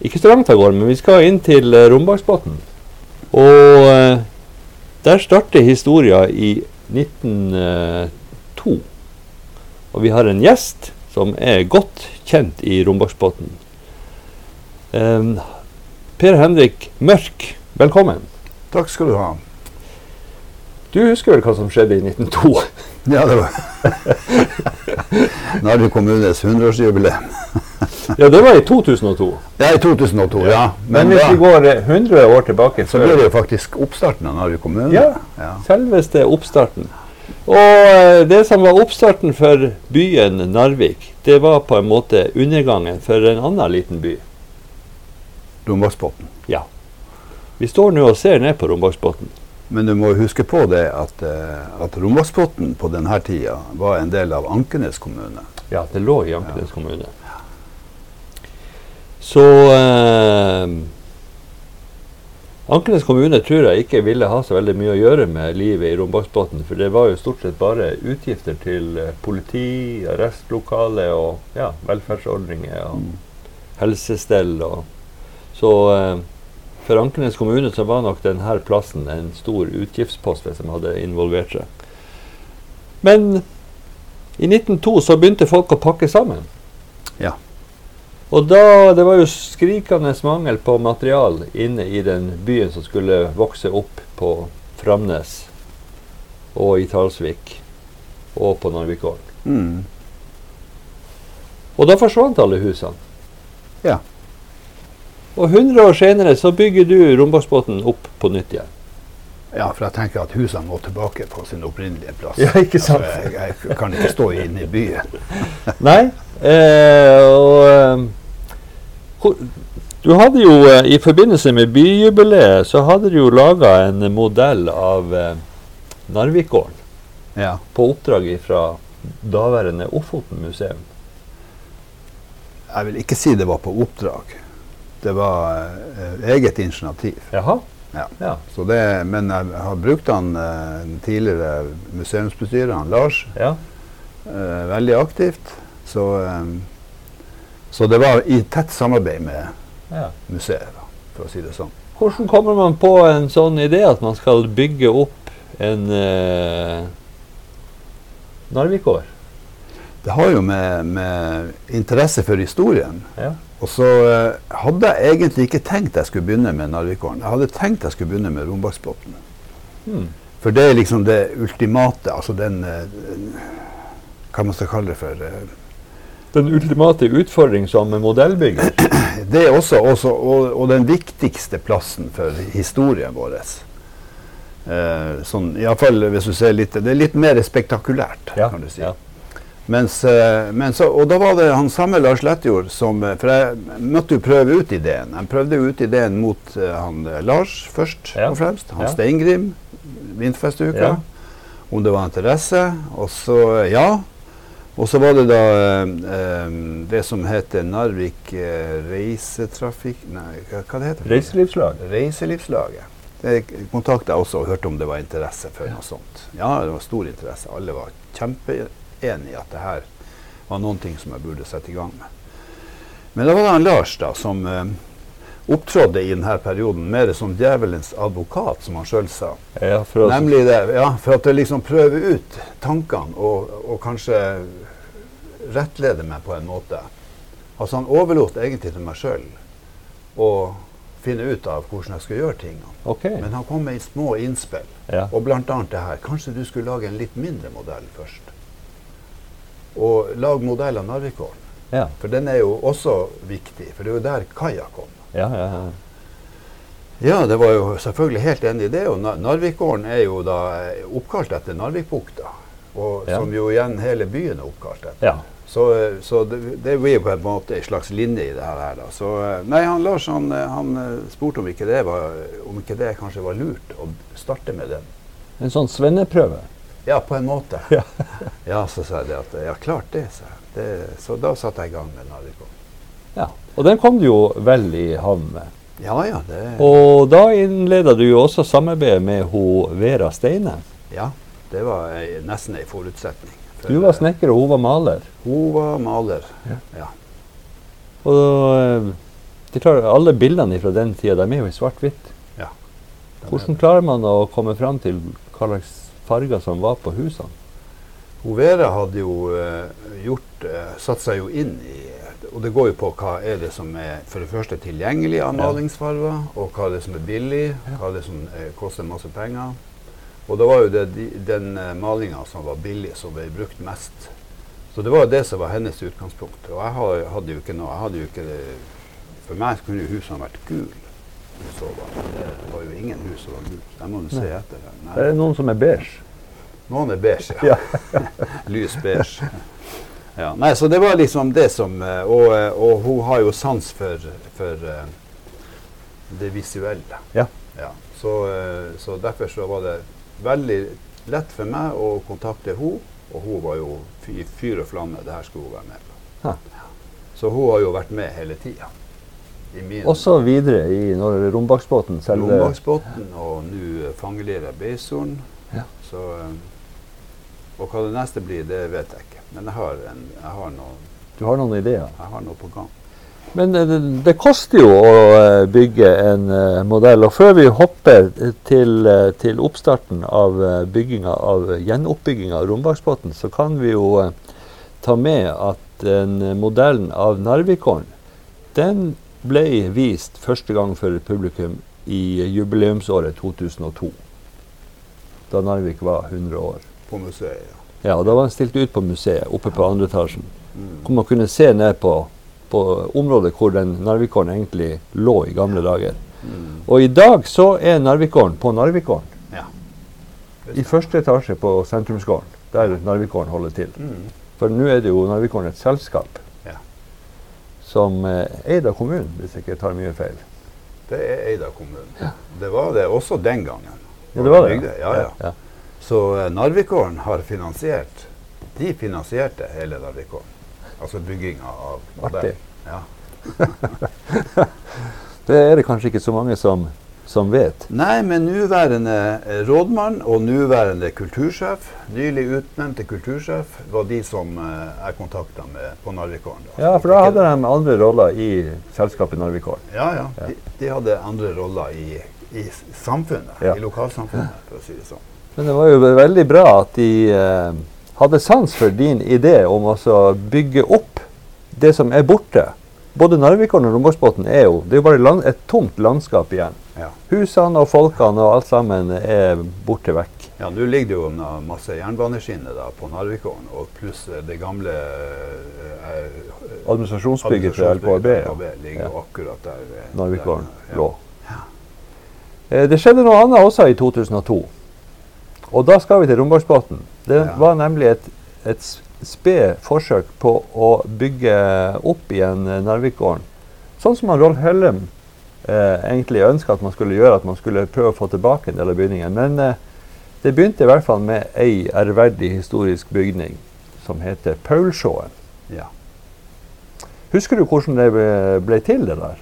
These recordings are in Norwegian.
ikke så langt av gårde, men vi skal inn til eh, Rombaksbotn. Og eh, der starter historia i 1902. Og vi har en gjest som er godt kjent i Rombaksbotn. Ehm, per Henrik Mørk, velkommen. Takk skal du ha. Du husker vel hva som skjedde i 1902? Ja, det var Narvik kommunes 100-årsjubileum. ja, det var i 2002. Ja, i 2002, ja. Men Men, hvis vi da, går eh, 100 år tilbake, så ble det jo faktisk oppstarten av Narvik kommune. Ja. ja. Selveste oppstarten. Og eh, det som var oppstarten for byen Narvik, det var på en måte undergangen for en annen liten by. Rombaksbotn. Vi står nå og ser ned på Rombaksbotn. Men du må jo huske på det at, eh, at Rombaksbotn på denne tida var en del av Ankenes kommune. Ja, det lå i Ankenes kommune. Så eh, Ankenes kommune tror jeg ikke ville ha så veldig mye å gjøre med livet i Rombaksbotn, for det var jo stort sett bare utgifter til eh, politi, arrestlokale og ja, velferdsordninger og Mm. helsestell og Så eh, for Ankenes kommune så var nok denne plassen en stor utgiftspost hvis de hadde involvert seg. Men i 1902 så begynte folk å pakke sammen. Ja. Og da, det var jo skrikende mangel på material inne i den byen som skulle vokse opp på Framnes og i Talsvik og på Narvikålen. Mm. Og da forsvant alle husene. Ja. Og 100 år senere så bygger du Rombaksbotn opp på nytt igjen. Ja, for jeg tenker at husene må tilbake på sin opprinnelige plass. Ja, ikke sant? Altså, jeg, jeg kan ikke stå inne i byen. Nei. Eh, og eh, hvor- Du hadde jo eh, i forbindelse med byjubileet så hadde du jo laga en modell av eh, Narvikgården Ja. på oppdrag fra daværende Ofoten museum. Jeg vil ikke si det var på oppdrag. Det var eh, eget initiativ. Jaha? Ja. Ja. Så det, men jeg har brukt han eh, den tidligere museumsbestyreren han Lars ja. eh, veldig aktivt. Så, eh, så det var i tett samarbeid med Ja. museet, da, for å si det sånn. Hvordan kommer man på en sånn idé at man skal bygge opp en eh, Narvikgård? Det har jo med, med interesse for historien. Ja. Og så eh, hadde jeg egentlig ikke tenkt jeg skulle begynne med Narvikåren. Jeg hadde tenkt jeg skulle begynne med Rombaksbotn. Hmm. For det er liksom det ultimate, altså den eh, Hva man skal kalle det for eh, Den ultimate utfordring som modellbygger. Det er også, også og, og den viktigste plassen for historien vår. Eh, sånn, Iallfall hvis du ser litt Det er litt mer spektakulært, kan du si. Ja. Mens, eh, men så, og da var det han samme Lars Lettjord som eh, For jeg måtte jo prøve ut ideen. Jeg prøvde jo ut ideen mot eh, han eh, Lars først Ja. og fremst. Han Ja. Steingrim, Vinterfestuka. Ja. Om det var interesse. Og så, eh, ja. Og så var det da eh, eh, det som heter Narvik eh, Reisetrafikk... Nei, hva, hva det heter det? Reiselivslag. Reiselivslaget. Det kontakta jeg også og hørte om det var interesse for noe sånt. Ja, det var stor interesse. Alle var kjempeenige i at det her var noen ting som jeg burde sette i gang med. Men da var det han Lars da, som eh, opptrådte i denne perioden mer som djevelens advokat, som han sjøl sa. Ja, for å Nemlig det, ja, for at det liksom prøver ut tankene og, og kanskje rettleder meg på en måte. Altså han overlot egentlig til meg sjøl å finne ut av hvordan jeg skulle gjøre tingene. Ok. Men han kom med små innspill, Ja. og blant annet det her. Kanskje du skulle lage en litt mindre modell først? Og lag modell av Narvikålen. Ja. For den er jo også viktig, for det er jo der kaia kom. Ja, ja, ja. Ja, det var jo selvfølgelig helt enig i det. Og Na- Narvikgården er jo da eh, oppkalt etter Narvikbukta. Og Ja. som jo igjen hele byen er oppkalt etter. ja. Så, eh, så det, det blir på en måte en slags linje i det her. her, da. Så, eh, nei, han Lars han, eh, han eh, spurte om ikke, det var, om ikke det kanskje var lurt å starte med den. En sånn svenneprøve. Ja, på en måte. Ja. ja, så sa jeg det at ja, klart det, sa jeg. Det, så da satte jeg i gang med Narvik. Ja. Og den kom du jo vel i havn med. Ja ja, det, Og da innleda du jo også samarbeidet med ho Vera Steine. ja, det var ei, nesten ei forutsetning. For, Du var eh, snekker, og hun var maler. Hun var maler. Ja. ja. Og eh, det er klart, alle bildene fra den tida de er jo i svart-hvitt. Hvordan klarer man å komme fram til hva slags farger som var på husene? Hun Vera hadde jo eh, gjort eh, Satt seg jo inn i Og det går jo på hva er det som er for det første tilgjengelig av Ja. malingsfarger, og hva er det som er billig, hva er det som eh, koster masse penger. Og da var jo det de, den eh, malinga som var billig, som ble brukt mest. Så det var jo det som var hennes utgangspunkt. Og jeg har- hadde jo ikke noe jeg hadde jo ikke, For meg kunne jo husene vært gule. Så var det, det var jo ingen hus som var gule. Jeg må jo se Nei. Eh, etter. den. Nei. Er det noen som er beige? Noen er beige, ja. Lys beige. Ja. Nei, så det var liksom det som eh, Og, eh, og hun har jo sans for, for eh, det visuelle. Ja. Så, eh, så derfor så var det veldig lett for meg å kontakte henne. Og hun var jo fy- i fyr og flamme. Det her skulle hun være med på. Ja. Så hun har jo vært med hele tida. I min Også videre i når Rombaksbåten selve Lombaksbotn og nå eh, fangelire Beisorn. Ja. Så, eh, og hva det neste blir, det vet jeg ikke. Men jeg har, en, jeg har, noe, Du har noen ideer? jeg har noe på gang. Men eh, det, det- det koster jo å eh, bygge en eh, modell. Og før vi hopper til, eh, til oppstarten av eh, bygginga av gjenoppbygginga av Rombaksbotn, så kan vi jo eh, ta med at den eh, modellen av Narvikorn, den ble vist første gang for publikum i jubileumsåret 2002. Da Narvik var 100 år. På museet, ja. Ja, og Da var den stilt ut på museet oppe på andre etasjen Mm. hvor man kunne se ned på, på området hvor den Narvikåren egentlig lå i gamle dager. Mm. Og i dag så er Narvikåren på Narvikåren. Ja. I første etasje på sentrumsgården, der Narvikåren holder til. Mm. For nå er det jo Narvikåren et selskap Ja. som eh, er eid av kommunen, hvis jeg ikke tar mye feil. Det er Eida kommune. Det var det også den gangen. Ja, det var det. Bygde, Ja, ja. ja. Så eh, Narvikåren har finansiert De finansierte hele Narvikåren. Altså bygginga av Artig. Ja. Det er det kanskje ikke så mange som, som vet. Nei, men nåværende eh, rådmann og nåværende kultursjef, nylig utnevnte kultursjef, var de som eh, jeg kontakta med på Narvikåren. Ja, for da hadde de andre roller i selskapet Narvikåren. Ja, ja. De, de hadde andre roller i, i s- samfunnet, Ja. i lokalsamfunnet, for å si det sånn. Men det var jo veldig bra at de eh, hadde sans for din idé om å så bygge opp det som er borte. Både Narvikåren og Rombaksbotn er jo det er jo bare land, et tomt landskap igjen. Ja. Husene og folkene og alt sammen er borte vekk. Ja, Nå ligger det jo na- masse jernbaneskinner da, på Narvikåren, og pluss eh, det gamle eh, eh, Administrasjonsbygget til LKAB administrasjonsbygget ja. til LKAB ligger jo akkurat der. eh, Narvikåren der, lå. Eh, det skjedde noe annet også i 2002. Og da skal vi til Rombaksbotn. Det Ja. var nemlig et, et s- sped forsøk på å bygge opp igjen eh, Narvikgården. Sånn som han Rolf Hellem eh, egentlig ønska at man skulle gjøre, at man skulle prøve å få tilbake en del av bygningen. Men eh, det begynte i hvert fall med ei ærverdig historisk bygning som heter Paulsjåen. Ja. Husker du hvordan det ble- ble til, det der?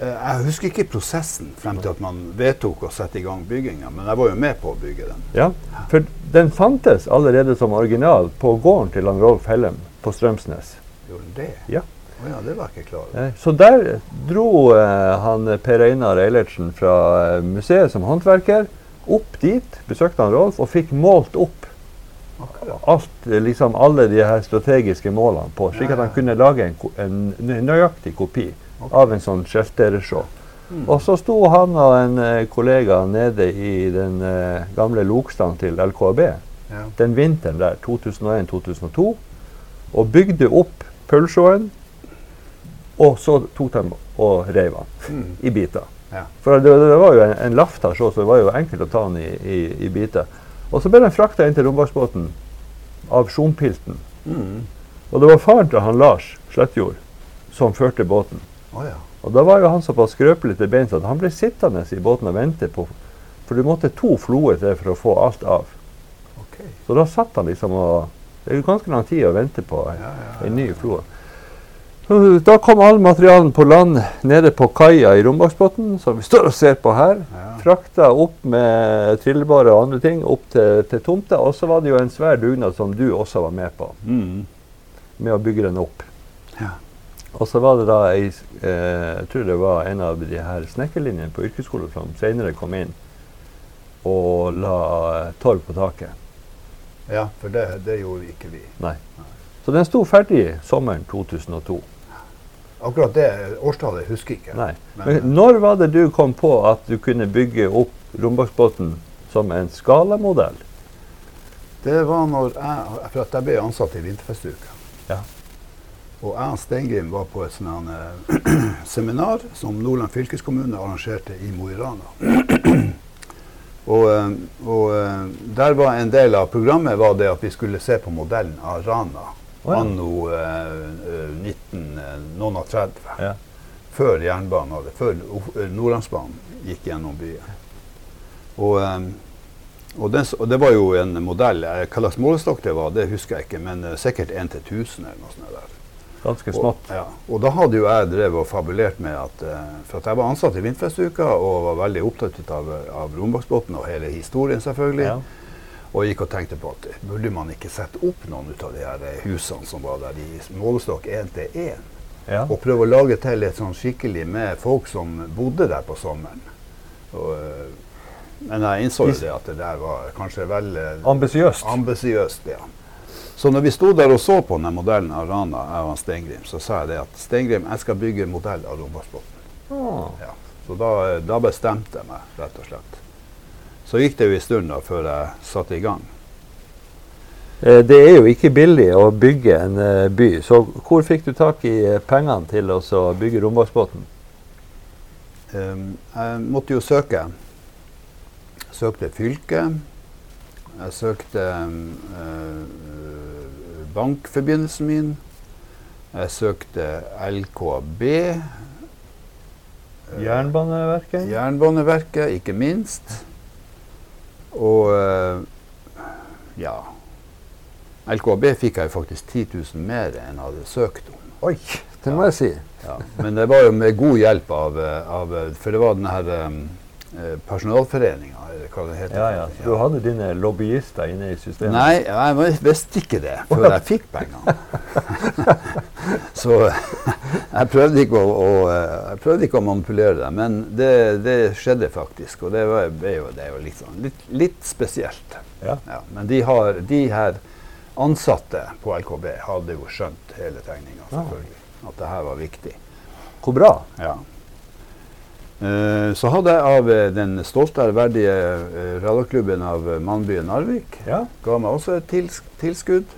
Eh, Jeg husker ikke prosessen frem til at man vedtok å sette i gang bygginga, men jeg var jo med på å bygge den. Ja, for den fantes allerede som original på gården til han Rolf Hellem på Strømsnes. Gjorde den det? Ja. Å ja, det var jeg ikke klar over. Eh, Så der dro eh, han Per Einar Eilertsen fra eh, museet som håndverker opp dit, besøkte han Rolf og fikk målt opp Akkurat. alt, eh, liksom alle de her strategiske målene på, slik at han kunne lage en, ko- en nø- nøyaktig kopi av en sånn sheltereshow. Mm. Og så sto han og en eh, kollega nede i den eh, gamle lokstaden til LKAB. Ja. den vinteren der, 2001-2002, og bygde opp Paulsjåen. Og så tok de og reiv den Mm. i biter. Ja. For det, det var jo en, en laft her, så så det var jo enkelt å ta den i, i, i biter. Og så ble den frakta inn til Rombaksbåten av Sjompilten. Mm. Og det var faren til han Lars Slettjord som førte båten. Å ja. Og da var jo han såpass skrøpelig til beins at han ble sittende i båten og vente på For du måtte to floer til for å få alt av. Ok. Så da satt han liksom og Det er jo ganske lang tid å vente på Ja, ja, en ny flo. Så Da kom all materialen på land nede på kaia i Rombaksbotn, som vi står og ser på her. ja. Frakta opp med trillebare og andre ting opp til, til tomta. Og så var det jo en svær dugnad som du også var med på, Mm. med å bygge den opp. Ja. Og så var det da ei s- eh, Jeg tror det var en av de her snekkerlinjene på yrkesskolen som senere kom inn og la eh, torv på taket. ja, for det, det gjorde ikke vi. Så den sto ferdig sommeren 2002. Akkurat det årstallet husker jeg ikke. Nei. Men- Men når var det du kom på at du kunne bygge opp Rombaksbotn som en skalamodell? Det var når jeg, for at jeg ble ansatt i Vinterfestuka. Ja. Og jeg og Steingrim var på et sånn her, eh, seminar som Nordland fylkeskommune arrangerte i Mo i Rana. og eh, og eh, der var en del av programmet var det at vi skulle se på modellen av Rana Å ja. anno eh, 1930. Ja. Før jernbanen hadde, før O- eh, Nordlandsbanen gikk gjennom byen. Og, eh, og, den, s- og det var jo en modell. eh, Hva slags målestokk det var, det husker jeg ikke, men eh, sikkert 1 til 1000 eller noe sånt. der. Ganske Og, smått. ja. og da hadde jo jeg drevet og fabulert med at eh, For at jeg var ansatt i Vindfestuka og var veldig opptatt ut av, av Rombaksbotn og hele historien, selvfølgelig. Ja. Og gikk og tenkte på at burde man ikke sette opp noen ut av de her eh, husene som var der i s- målestokk 1 til 1? Ja. Og prøve å lage til et sånn skikkelig med folk som bodde der på sommeren. Og, eh, men jeg innså jo Hvis- det at det der var kanskje vel eh, Ambisiøst. Ambisiøst, ja. Så når vi sto der og så på den modellen av Rana, jeg og han Steingrim, så sa jeg det at Steingrim, jeg skal bygge en modell av Rombaksbotn. Ah. Ja. Så da, da bestemte jeg meg, rett og slett. Så gikk det jo en stund da før jeg satte i gang. Eh, Det er jo ikke billig å bygge en eh, by, så hvor fikk du tak i eh, pengene til å så bygge Rombaksbotn? Ehm, jeg måtte jo søke. Jeg søkte fylke. Jeg søkte ehm, eh, bankforbindelsen min. Jeg søkte LKB. eh, Jernbaneverket? Jernbaneverket, ikke minst. Og eh, ja LKB fikk jeg jo faktisk 10 000 mer enn jeg hadde søkt om. Oi, det må jeg si. Ja, men det var jo med god hjelp av, eh, av eh, For det var den her eh, personalforeninga, eller hva det heter. Ja, ja. Så du hadde dine lobbyister inne i systemet? Nei, jeg vis- visste ikke det før jeg fikk pengene. Så jeg prøvde ikke å, å, eh, jeg prøvde ikke å manipulere det, men det, det skjedde faktisk. Og det, var, det er jo, det er jo litt, sånn, litt, litt spesielt. Ja. men de, har, de her ansatte på LKB hadde jo skjønt hele tegninga, Ja. selvfølgelig. At det her var viktig. Hvor bra? Ja. Eh, Så hadde jeg av eh, den stolte, ærverdige eh, rallarklubben av eh, Mannbyen Narvik Ja. ga meg også et tils tilskudd.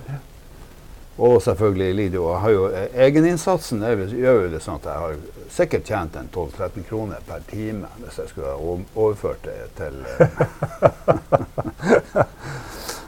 Og selvfølgelig Lidio. Jeg har jo, eh, egeninnsatsen er, vel- gjør jo det sånn at jeg har sikkert tjent en 12-13 kroner per time hvis jeg skulle ha o- overført det til eh,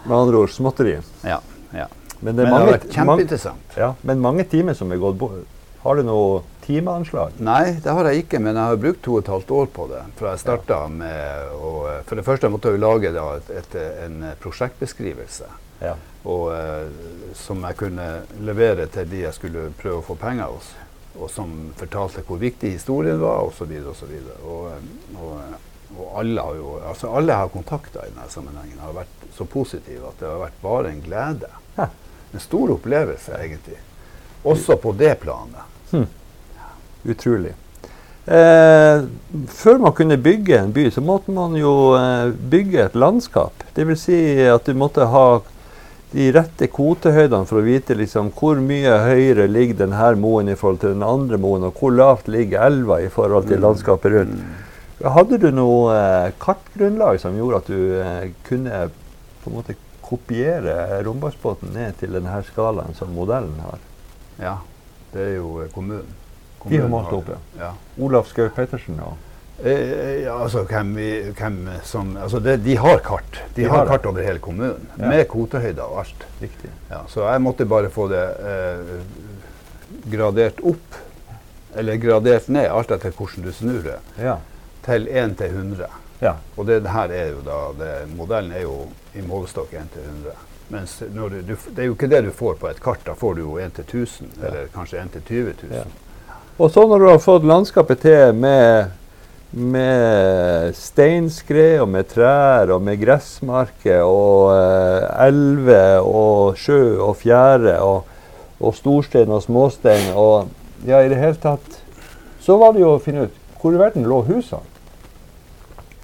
Med andre ord småtteri. Ja. ja. Men det Men er det har mange, vært mange, kjempeinteressant. ja, men mange timer som er gått bort. Har du noe timeanslag? Nei, det har jeg ikke, men jeg har brukt to og et halvt år på det. Fra jeg starta med å eh, For det første måtte jeg jo lage da, et, et, en eh, prosjektbeskrivelse. Ja. Og, eh, som jeg kunne levere til de jeg skulle prøve å få penger hos. Og som fortalte hvor viktig historien var, osv. osv. Og, eh, og, eh, og alle har jo Altså alle jeg har kontakta i denne sammenhengen, har vært så positive at det har vært bare en glede. Ja. En stor opplevelse, egentlig. Også på det planet. Utrolig. Eh, før man kunne bygge en by, så måtte man jo eh, bygge et landskap. Dvs. Si at du måtte ha de rette kvotehøydene for å vite liksom, hvor mye høyere ligger denne moen i forhold til den andre moen, og hvor lavt ligger elva i forhold til landskapet rundt. Hadde du noe eh, kartgrunnlag som gjorde at du eh, kunne på en måte kopiere Rombaksbotn ned til denne skalaen som modellen har? Ja, det er jo eh, kommunen. De har Kommunen malt opp, ja. Olav Skaug Pettersen og Eh, ja, altså, hvem, vi- hvem som, altså det, de har kart. De, De har, har det. kart over hele kommunen, Ja. med kvotehøyder og alt. Riktig. Ja, så jeg måtte bare få det eh, gradert opp, eller gradert ned, alt etter hvordan du snur det, Ja. til 1 til 100. Ja. Og det, det her er jo da, det, modellen er jo i målestokk 1 til 100. Mens når du, du, f- det er jo ikke det du får på et kart, da får du jo 1 til 1000, Ja. eller kanskje 1 til 20 000. Ja. Og så når du har fått landskapet til med, med steinskred og med trær og med gressmarker og eh, elver og sjø og fjære og, og storstein og småstein og ja, i det hele tatt Så var det jo å finne ut hvor i verden lå husene.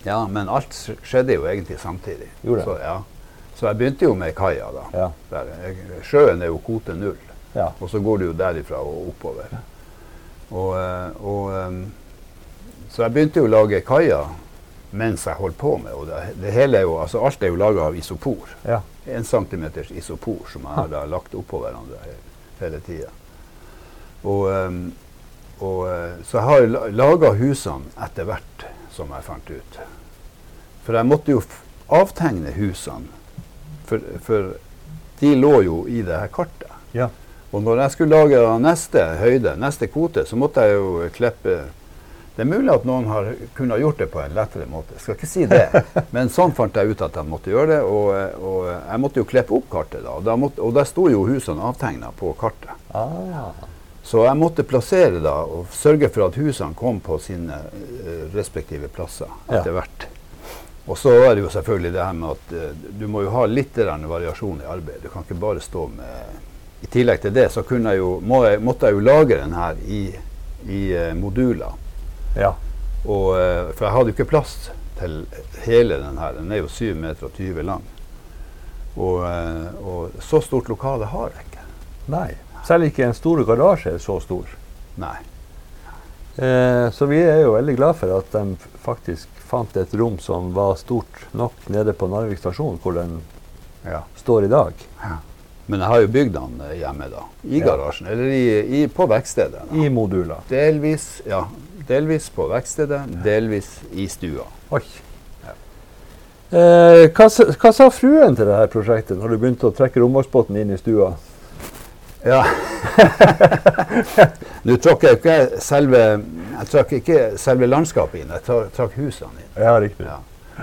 Ja, men alt sk- skjedde jo egentlig samtidig. Gjorde det? Så, ja. så jeg begynte jo med kaia, da. Ja. Der. Jeg- Sjøen er jo kvote null, Ja. og så går det jo derifra og oppover. Og, eh, og, em, så jeg begynte jo å lage kaia mens jeg holdt på med og det. det hele er jo, altså alt er jo laga av isopor. Ja. En centimeters isopor som jeg har da lagt oppå hverandre he- hele tida. Og, em, og, eh, så jeg har laga husene etter hvert som jeg fant ut. For jeg måtte jo f- avtegne husene, for, for de lå jo i det her kartet. Ja. Og når jeg skulle lage neste høyde, neste kvote, så måtte jeg jo klippe Det er mulig at noen har kunnet gjort det på en lettere måte, jeg skal ikke si det. Men sånn fant jeg ut at jeg måtte gjøre det. Og, eh, og eh, jeg måtte jo klippe opp kartet, da. Og da, måtte, og da sto jo husene avtegna på kartet. Ah. Så jeg måtte plassere da, og sørge for at husene kom på sine eh, respektive plasser Ja. etter hvert. Og så er det jo selvfølgelig det her med at eh, du må jo ha litt grann variasjon i arbeidet. Du kan ikke bare stå med I tillegg til det så kunne jeg jo, må jeg, måtte jeg jo lagre den her i, i eh, moduler. Ja. Og, eh, for jeg hadde jo ikke plass til hele den her. Den er jo 7 meter og 20 lang. Og, eh, og så stort lokale har jeg ikke. Nei. Selv ikke en stor garasje er så stor. Nei. Eh, så vi er jo veldig glad for at de faktisk fant et rom som var stort nok nede på Narvik stasjon, hvor den Ja. står i dag. Men jeg har jo bygd den eh, hjemme, da. I Ja. garasjen, eller i, i, på verkstedet. da. I moduler. Delvis, ja, delvis på verkstedet, delvis i stua. Oi. Eh, hva, sa- hva sa fruen til dette prosjektet når du begynte å trekke romavlsbåten inn i stua? Ja. Nå trakk jeg ikke selve, jeg trakk ikke selve landskapet inn, jeg tra- trakk husene inn. Ja, riktig. Ja.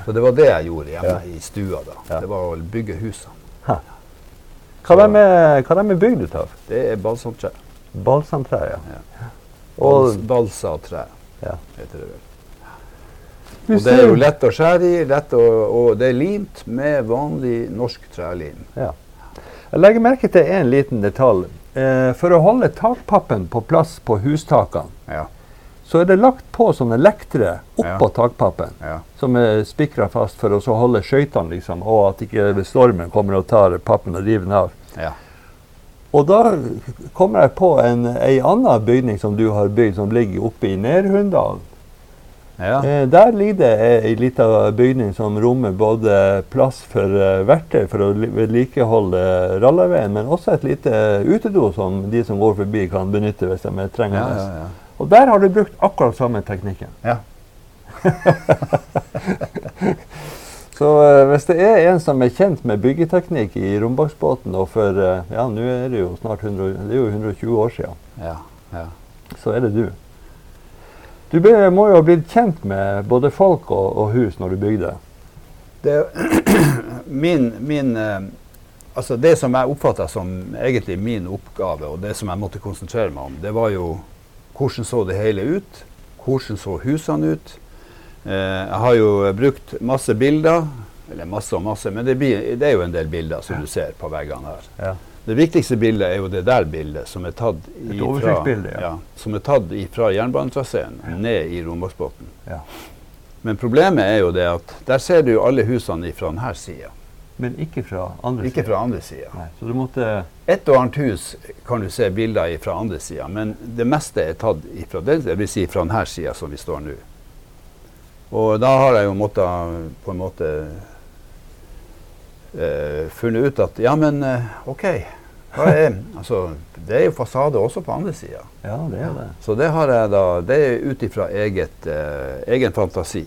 Så det var det jeg gjorde hjemme Ja. i stua. da. Ja. Det var å bygge husene. Hva de er hva de er bygd ut av? Det er balsamtre. Balsamtre, ja. Ja. Og, Bals, balsatre Ja. heter det vel. du Og det er ser- jo lett å skjære i, lett å, og det er limt med vanlig norsk trelim. Ja. Jeg legger merke til én liten detalj. Eh, for å holde takpappen på plass på hustakene, Ja, så er det lagt på sånne lektere oppå takpappen. ja. Som er spikra fast for å så holde skøytene, liksom, og at ikke stormen kommer og tar pappen og river den av. ja. Og da kommer jeg på en, ei anna bygning som du har bygd, som ligger oppe i Nerhunndalen. ja. Eh, der ligger det ei- ei lita bygning som rommer både plass for eh, verktøy for å li- vedlikeholde rallarveien, men også et lite utedo som de som går forbi kan benytte hvis de er trengende. ja. Og der har du brukt akkurat samme teknikken. Ja. Så eh, hvis det er en som er kjent med byggeteknikk i Rombaksbåten, og for eh, ja, nå er det jo snart 100, det er jo 120 år siden, ja, ja. så er det du. Du ble, må jo ha blitt kjent med både folk og, og hus når du bygde. Det, min, min, eh, altså det som jeg oppfatta som egentlig min oppgave, og det som jeg måtte konsentrere meg om, det var jo hvordan så det hele ut? Hvordan så husene ut? Eh, jeg har jo brukt masse bilder, eller masse og masse, men det, blir, det er jo en del bilder som du ser på veggene her. Ja. Det viktigste bildet er jo det der bildet som er tatt ifra- oversiktsbilde, ja. ja, som er tatt fra jernbanetraseen ned i Rombaksbotn. Ja. Men problemet er jo det at der ser du jo alle husene fra denne sida, Men ikke fra andre ikke siden. fra andre sida. Nei, så du måtte Et og annet hus kan du se bilder fra andre sida, men det meste er tatt fra den, det vil si fra denne sida som vi står nå. Og da har jeg jo måttet på en måte eh, funnet ut at ja, men eh, OK, Hva er, altså, det er jo fasade også på andre sida. Ja, det er det. Så det, har jeg da, det er ut ifra eget, eh, egen fantasi.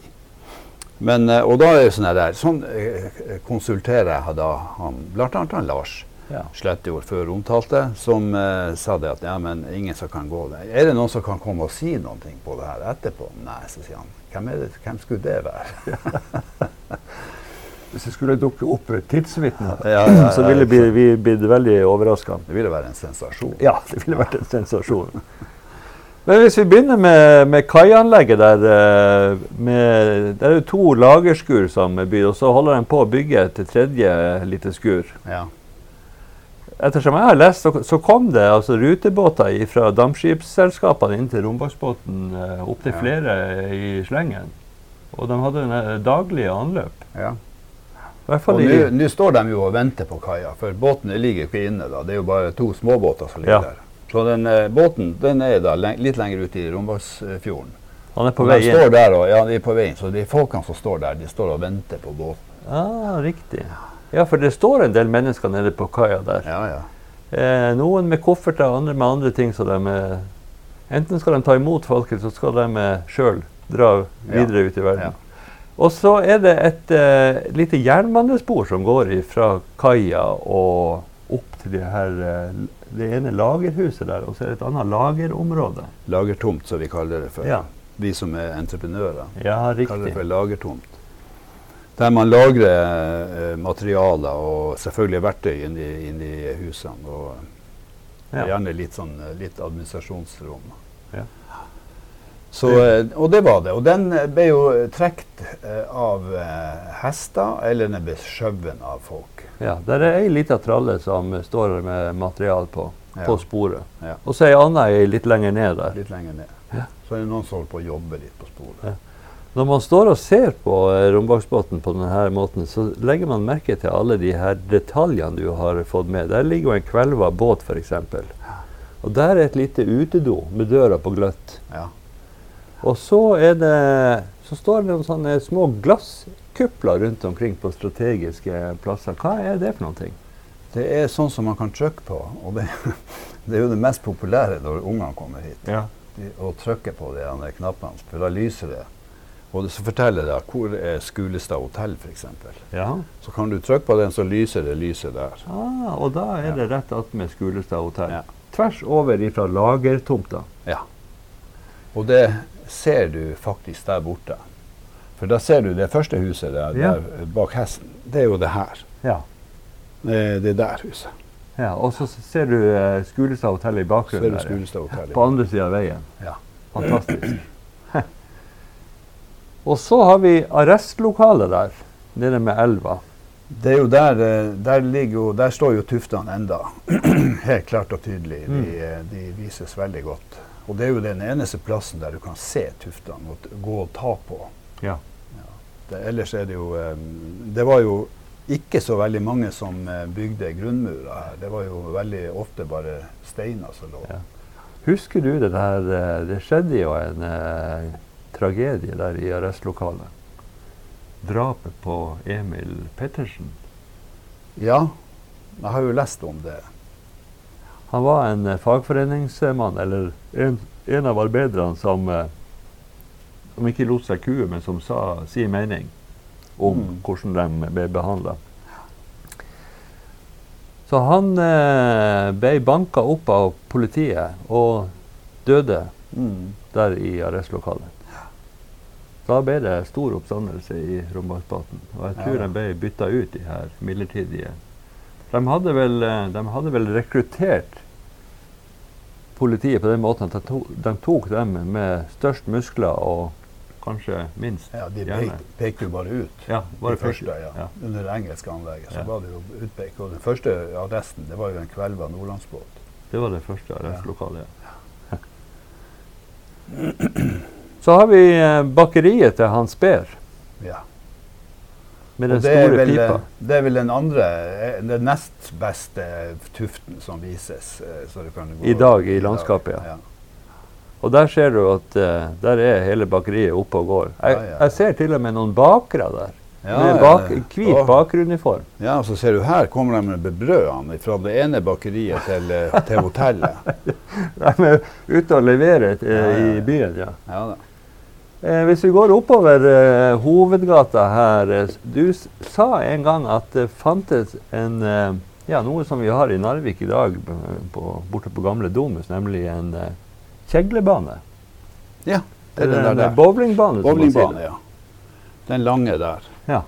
Men, eh, og da er det sånn her der, sånn eh, konsulterer jeg da han, blant annet han Lars Ja. Slettjord før omtalte, som eh, sa det at ja, men ingen som kan gå der. Er det noen som kan komme og si noe på det her etterpå? Nei, så sier han. Hvem, er det, hvem skulle det være? Hvis det skulle dukke opp et tidsvitne, Ja, ja, ja, så ville vi, vi blitt veldig overraska. Det ville være en sensasjon. Ja, det ville vært en sensasjon. Men hvis vi begynner med, med kaianlegget der eh, med, Det er jo to lagerskur som er bygd, og så holder de på å bygge et tredje lite skur. Ja. Ettersom jeg har lest, så, så kom det altså rutebåter fra dampskipsselskapene inn til romfartsbåten eh, opptil Ja. flere i slengen. Og de hadde en eh, daglige anløp. ja. I hvert Og fall i nå- nå står de jo og venter på kaia, for båten ligger jo ikke inne da. Det er jo bare to småbåter som ligger Ja. der. Så den eh, båten den er da leng litt lenger ute i Rombaksfjorden. Han er på Og vei de inn. står der og, ja, de er på veien, så de folkene som står der, de står og venter på båten. Ah, riktig. Ja, for det står en del mennesker nede på kaia der. Ja, ja. Eh, noen med kofferter, andre med andre ting. Så de, eh, enten skal de ta imot folk, eller så skal de eh, sjøl dra videre ut i verden. ja. Og så er det et eh, lite jernbanespor som går fra kaia og opp til det, her, eh, det ene lagerhuset der, og så er det et annet lagerområde. Lagertomt, som vi kaller det for. Ja. Vi som er entreprenører, Ja, kaller det riktig. for lagertomt. Der man lagrer eh, materialer og selvfølgelig verktøy inni, inni husene. Og Ja. Gjerne litt, sånn, eh, litt administrasjonsrom. Ja. Så, eh, og det var det. Og den eh, ble jo trukket av eh, hester, eller den ble skjøvet av folk. Ja, der er ei lita tralle som står med material på, Ja. på sporet. Ja. Og så ei anna ei litt lenger ned der. Litt lenger ned. Ja. Så er det noen som holder på å jobbe litt på sporet. Ja. Når man står og ser på eh, rombaksbåten på denne måten, så legger man merke til alle de her detaljene du har fått med. Der ligger jo en kvelva båt, f.eks. Og der er et lite utedo med døra på gløtt. Ja. Og så, er det, så står det noen sånne små glasskupler rundt omkring på strategiske plasser. Hva er det for noen ting? Det er sånn som man kan trykke på. Og det, det er jo det mest populære når ungene kommer hit. Ja. De- Å trykke på de andre knappene, for da lyser det. Og det- så forteller det hvor er Skulestad hotell, f.eks. ja. Så kan du trykke på den, så lyser det lyset der. Ah, og da er Ja. det rett attmed Skulestad hotell. Ja. Tvers over ifra lagertomta. Ja. Og det ser du faktisk der borte. For da ser du det første huset der, Ja. der bak hesten. Det er jo det her. Ja. Eh, Det er der huset. Ja, og så ser du eh, Skulestad hotell i Så er bakgrunnen. det der, ja. Skulestad hotell. På andre sida av veien. Ja. Fantastisk. og så har vi arrestlokalet der, nede med elva. Det er jo der, eh, der, ligger jo, der står jo tuftene enda. Helt klart og tydelig. De, Mm. eh, de vises veldig godt. Og det er jo den eneste plassen der du kan se tuftene og t- gå og ta på. Ja. Det, ellers er det jo eh, Det var jo ikke så veldig mange som eh, bygde grunnmurer her. Det var jo veldig ofte bare steiner som lå. Ja. Husker du det der eh, Det skjedde jo en eh, tragedie der i arrestlokalet. Drapet på Emil Pettersen. Ja, jeg har jo lest om det. Han var en eh, fagforeningsmann, eller en, en av arbeiderne som eh, Om ikke lot seg kue, men som sa sin mening om Mm. hvordan de ble behandla. Så han eh, ble banka opp av politiet og døde der i arrestlokalet. Da ble det stor oppstandelse i Rombaksbotn. Og jeg tror Ja. de ble bytta ut, de her midlertidige. De hadde vel, eh, de hadde vel rekruttert politiet på den måten at de tok, de tok dem med størst muskler og kanskje minst Ja, De hjerne. pekte, pekte jo bare ut. Ja, var det det først? første, ja. Ja. Under det engelske anlegget så Ja. var det jo utpekt. Og den første arresten det var jo en kvelva nordlandsbåt. Det var det første arrestlokalet, ja. Så har vi eh, bakeriet til Hans Behr Ja. med Og den det, er store vel, eh, pipa. det er vel den andre, eh, den nest beste tuften som vises. eh, Så du kan gå I dag, i dag. landskapet, ja. Og der ser du at eh, der er hele bakeriet oppe og går. Jeg, Ja, ja, ja. jeg ser til og med noen bakere der. med bak, hvit bakgrunnsuniform. Ja, og så ser du her kommer de med brødene fra det ene bakeriet til, eh, til hotellet. De er ute og leverer eh, ja, ja. i byen, ja. Ja da. Eh, hvis vi går oppover eh, hovedgata her eh, s- Du s sa en gang at det fantes en eh, Ja, noe som vi har i Narvik i dag, b- på, borte på gamle Domus, nemlig en eh, kjeglebane. Ja, det er Eller den der. en eh, der. bowlingbane. som man sier Bowlingbane, det. ja. Den lange der. Ja.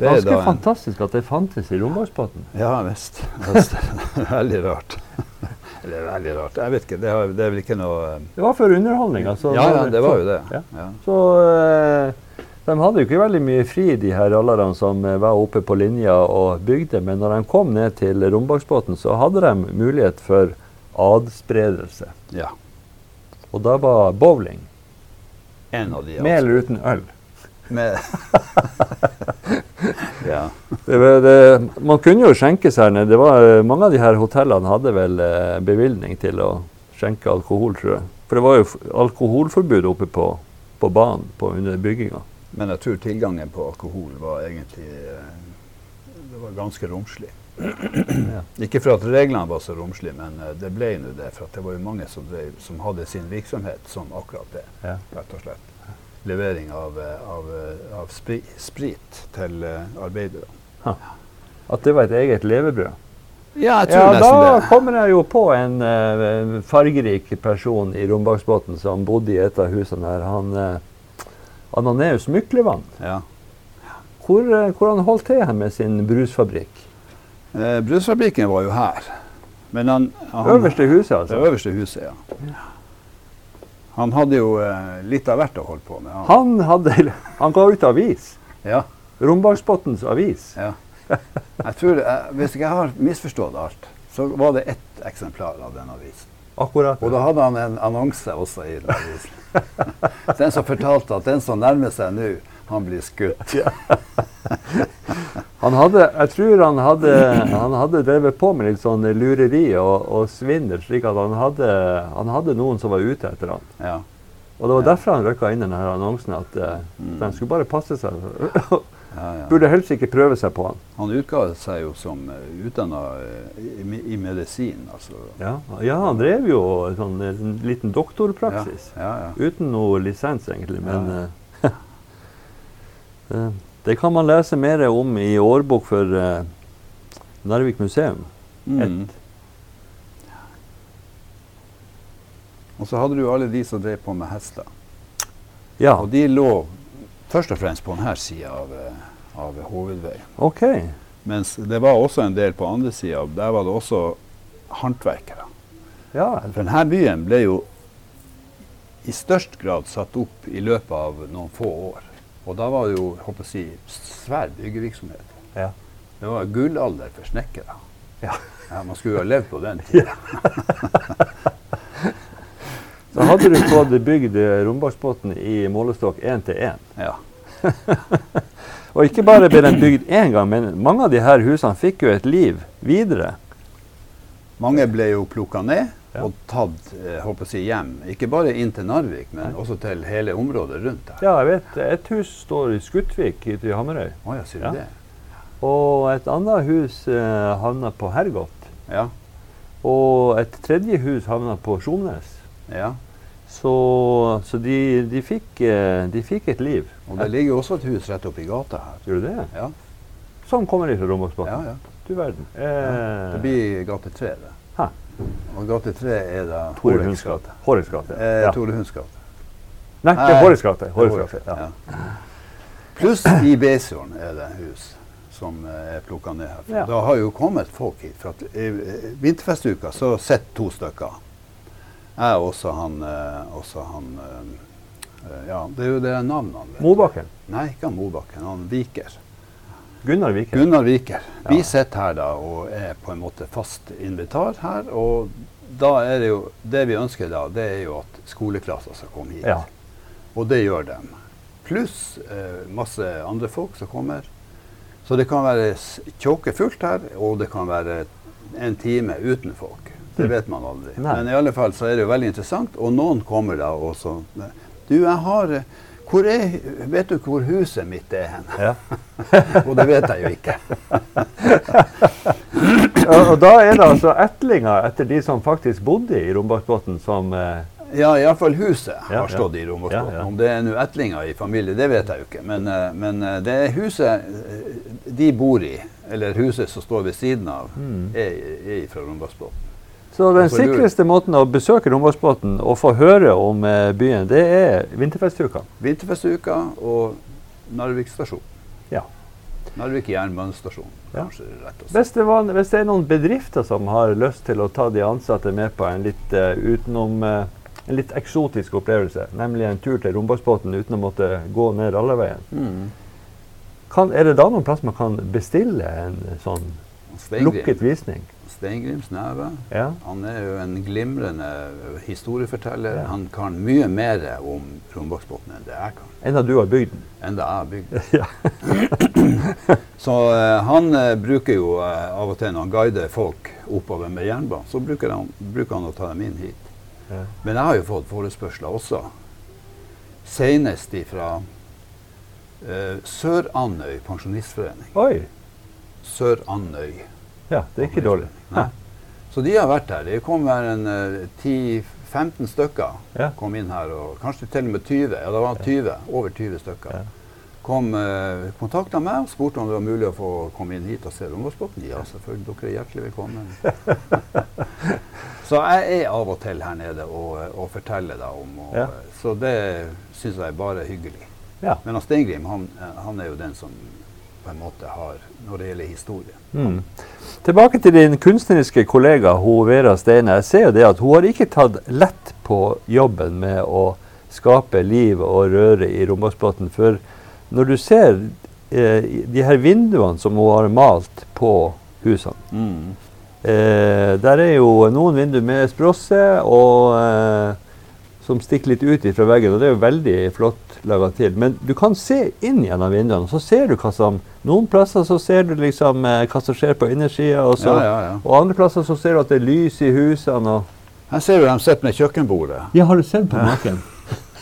Det er Ganske da en, fantastisk at det fantes i Rombaksbotn. ja visst. visst. veldig rart. Eller veldig rart. Jeg vet ikke, det, har, det er vel ikke noe eh, Det var for underholdning. Altså, Ja, ja, det var jo det. Ja. Ja. Så eh, de hadde jo ikke veldig mye fri, de her rallerne som eh, var oppe på linja og bygde, men når de kom ned til Rombaksbotn, så hadde de mulighet for adspredelse. ja. Og da var bowling, En av de, med eller uten øl. Med. ja. Det, var- det, man kunne jo skjenkes her nede. Det var, eh, mange av de her hotellene hadde vel eh, bevilgning til å skjenke alkohol, tror jeg. For det var jo f- alkoholforbud oppe på, på banen på, under bygginga. Men jeg tror tilgangen på alkohol var egentlig eh, det var ganske romslig. Ikke for at reglene var så romslige, men eh, det ble nå det. For at det var jo mange som, drev, som hadde sin virksomhet som akkurat det. Ja. rett og slett. Levering av, eh, av, eh, av spri, sprit til eh, arbeidere. At det var et eget levebrød. Ja, jeg Ja, da kommer jeg jo på en eh, fargerik person i Rombaksbotn som bodde i et av husene her. Han uh, Ananeus Myklevann. Ja. Hvor, eh, hvor han holdt til her med sin brusfabrikk? Eh, Brusfabrikken var jo her. Men han, han Øverste huset, Det altså. øverste huset, ja. Han hadde jo eh, litt av hvert å holde på med. Han. Han, hadde, han ga ut avis. Ja, Rombaksbotns avis. ja. Jeg tror, eh, hvis ikke jeg har misforstått alt, så var det ett eksemplar av den avisen. Akkurat. Og da hadde han en annonse også i den avisen. Den som fortalte at den som nærmer seg nå, han blir skutt. Han hadde, jeg tror han hadde, han hadde drevet på med litt sånn lureri og, og svindel, slik at han hadde, han hadde noen som var ute etter han. Ja. Mm. Og det var derfor han røkka inn denne annonsen, at eh, de skulle bare passe seg. Ja, ja. Burde helst ikke prøve seg på han. Han utga seg jo som eh, utdanna eh, i, me- i medisin, altså. Ja, ja han drev jo sånn eh, en liten doktorpraksis. Ja, ja, ja. Uten noe lisens, egentlig, men Ja. eh, eh, Det kan man lese mer om i årbok for eh, Narvik museum. Mm. Og så hadde du jo alle de som drev på med hester. Ja, Og de lå først og fremst på denne sida av, eh, av hovedveien. OK. Mens det var også en del på andre sida. Der var det også håndverkere. Ja, For denne byen ble jo i størst grad satt opp i løpet av noen få år. Og da var det jo håper jeg, å si, svær byggevirksomhet. Ja. Det var gullalder for snekkere. Ja. Ja, man skulle jo ha levd på den tida. Så hadde du fått bygd eh, Rombaksbotn i målestokk én til én. Ja. Og ikke bare ble den bygd én gang, men mange av de her husene fikk jo et liv videre. Mange ble jo plukka ned Ja. og tatt eh, håper jeg, å si, hjem. Ikke bare inn til Narvik, men også til hele området rundt der. Ja, jeg vet. Et hus står i Skutvik ute i Hamarøy. Å ja, sier Ja. du det? Og et annet hus eh, havna på Hergot. Ja. Og et tredje hus havna på Skjomnes. ja. Så, så de, de, fikk, eh, de fikk et liv. Og det ligger jo også et hus rett oppi gata her. Gjorde det? Ja, Sånn kommer de fra ja, Rombaksbotn. ja. Du verden. Det Eh, blir gate 3, det. Hæ. Og gate 3 er da Tore Horeks Hunds gate. gate. Horeks gate. Eh, Ja. Tore Hunds gate. Nei, det Nei, er Horeks gate. Horeks Horeks gate. gate, Ja. ja. Pluss i Beisfjorden er det hus som eh, er plukka ned her. Ja. Da har jo kommet folk hit. For at i eh, vinterfestuka så sitter to stykker. Jeg og også han eh, også han eh, Ja, det er jo det navnet han vet. Mobakken. Nei, ikke han Mobakken. Han Viker. Gunnar Viken. Gunnar Viker. Ja. Vi sitter her da og er på en måte fast invitar her. Og da er det jo Det vi ønsker da, det er jo at skoleklasser skal komme hit. Ja. Og det gjør de. Pluss eh, masse andre folk som kommer. Så det kan være s- tjåkefullt her, og det kan være en time uten folk. Det vet man aldri. Mm. Nei. Men i alle fall så er det jo veldig interessant, og noen kommer da også. Du, jeg har eh, Hvor er, vet du hvor huset mitt er hen? Ja. Og det vet jeg jo ikke. Og, og da er det altså etlinger etter de som faktisk bodde i Rombaksbotn, som eh, Ja, iallfall huset Ja, har ja. stått i Romersbotn. Ja, ja. Om det er nå ettlinger i familie, det vet jeg jo ikke. Men, eh, men eh, det er huset eh, de bor i, eller huset som står ved siden av, Mm. er, er fra Romersbotn. Så den Hvorfor lurer? sikreste måten å besøke Rombaksbotn og få høre om eh, byen, det er vinterfestuka. Vinterfestuka og Narvik stasjon. Ja. Narvik jernbanestasjon, Ja. kanskje rett og slett. Hvis det, var, hvis det er noen bedrifter som har lyst til å ta de ansatte med på en litt eh, utenom eh, en litt eksotisk opplevelse, nemlig en tur til Rombaksbotn uten å måtte gå ned alle veien. Mm. Kan, er det da noen plass man kan bestille en sånn Steingrim, lukket visning? Steingrims neve. Ja. Han er jo en glimrende historieforteller. Ja. Han kan mye mer om Rombaksbotn enn det jeg kan. Enda du har bygd den. Enda jeg har bygd. Ja. Så eh, han eh, bruker jo eh, av og til når han guider folk oppover med jernbanen, så bruker han, bruker han å ta dem inn hit. Ja. Men jeg har jo fått forespørsler også. Senest ifra eh, Sør-Andøy pensjonistforening. Oi! Sør-Andøy. Ja, det er ikke dårlig. Nei. Så de har vært her. Det kom her en eh, 10-15 stykker. Ja. Kom inn her, og Kanskje til og med 20. Ja, det var 20, over 20 stykker. Ja. Kom, eh, kontakta meg og spurte om det var mulig å få komme inn hit og se Rombaksbotn. Ja, selvfølgelig. Dere er hjertelig velkommen. så jeg er av og til her nede og, eh, og forteller da om og, Ja. eh, Så det syns jeg er bare hyggelig. Ja. Men han Steingrim han, eh, han er jo den som på en måte har når det gjelder historie. Mm. Tilbake til din kunstneriske kollega hun Vera Steine. Jeg ser jo det at hun har ikke tatt lett på jobben med å skape liv og røre i Rombaksbotn. For når du ser eh, de her vinduene som hun har malt på husene Mm. eh, Der er jo noen vinduer med sprosse og eh, som stikker litt ut fra veggen, og det er jo veldig flott laga til. Men du kan se inn gjennom vinduene, og så ser du hva som Noen plasser så ser du liksom eh, hva som skjer på innersida, og, så- Ja, ja, ja. og andre plasser så ser du at det er lys i husene og Her ser du de sitter med kjøkkenbordet. Ja, har du sett på maken?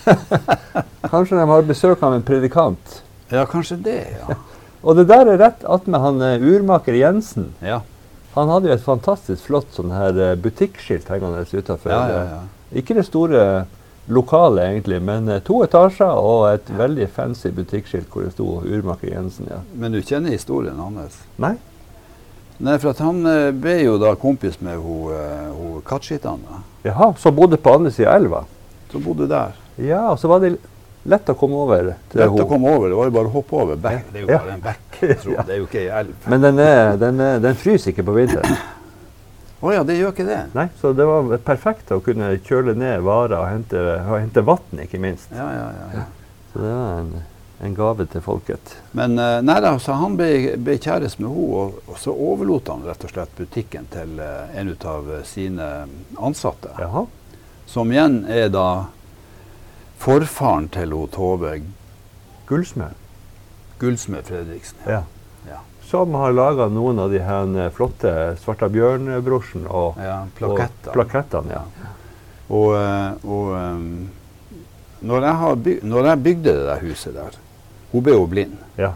Kanskje de har besøk av en predikant. Ja, kanskje det, ja. Og det der er rett attmed han eh, urmaker Jensen. ja. Han hadde jo et fantastisk flott sånn her eh, butikkskilt hengende utafor. ja, ja, ja. Ikke det store lokalet, egentlig, men eh, to etasjer og et veldig fancy butikkskilt hvor det sto Urmaker Jensen. ja. Men du kjenner historien hans? Nei? Nei, for at han eh, ble jo da kompis med hun, eh, hun Katskitane, Jaha, som bodde på andre sida av elva? som bodde der. Ja, og så var det lett å komme over til Lett å henne. komme over, det var jo bare å hoppe over. Bekk. Det er jo Ja. bare en bekk, tro. det er jo ikke ei elv. Men den, er, den, er, den fryser ikke på vinteren. Å ja, det gjør ikke det. Nei, Så det var perfekt å kunne kjøle ned varer og hente, og hente vann, ikke minst. Ja, ja, ja. ja. Så det var en, en gave til folket. Men eh, nei da, så han ble, ble kjæreste med henne, og, og så overlot han rett og slett butikken til eh, en ut av eh, sine ansatte. Jaha. Som igjen er da forfaren til hun Tove Gullsmed. Gullsmed Fredriksen. Ja. Ja. Som har laga noen av de her eh, flotte Svarta bjørn-brosjen og Ja, Og plaketter. plakettene, ja. Og, eh, og eh, når, jeg har byg når jeg bygde det der huset der Hun ble jo blind. Ja.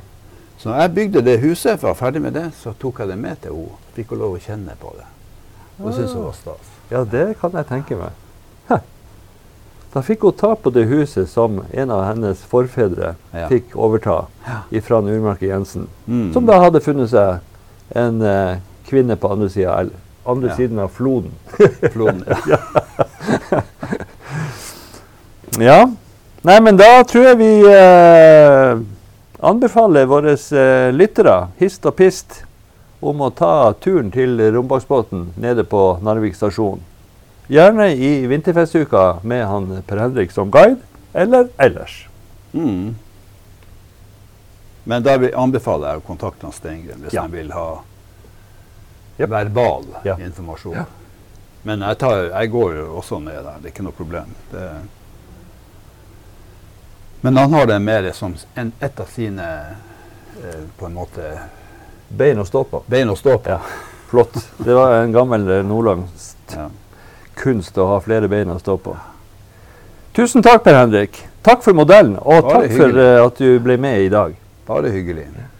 Så når jeg bygde det huset, var ferdig med det, så tok jeg det med til henne. Fikk hun lov å kjenne på det. Hun syntes det var stas. ja, det kan jeg tenke meg. Hæ. Da fikk hun ta på det huset som en av hennes forfedre Ja. fikk overta Ja. fra Nurmarke Jensen, Mm. som da hadde funnet seg en eh, kvinne på andre, siden av el- andre Ja. siden av floden. Floden, ja. Ja. Nei, men da tror jeg vi eh, anbefaler våre eh, lyttere, hist og pist, om å ta turen til Rombaksbåten nede på Narvik stasjon. Gjerne i vinterfestuka med han Per Henrik som guide, eller ellers. Mm. Men der vil- anbefaler jeg å kontakte han Steingren hvis Ja. han vil ha Jep. verbal Ja. informasjon. Men jeg, tar, jeg går jo også ned der, det er ikke noe problem. Det Men han har det mer som s- en, et av sine eh, på en måte Bein å stå på. bein å stå på. Ja. Flott. Det var en gammel eh, nordlands Ja. kunst å ha flere bein å stå på. Tusen takk, Per Henrik. Takk for modellen, og Bare takk for hyggelig. eh, at du ble med i dag. Bare hyggelig.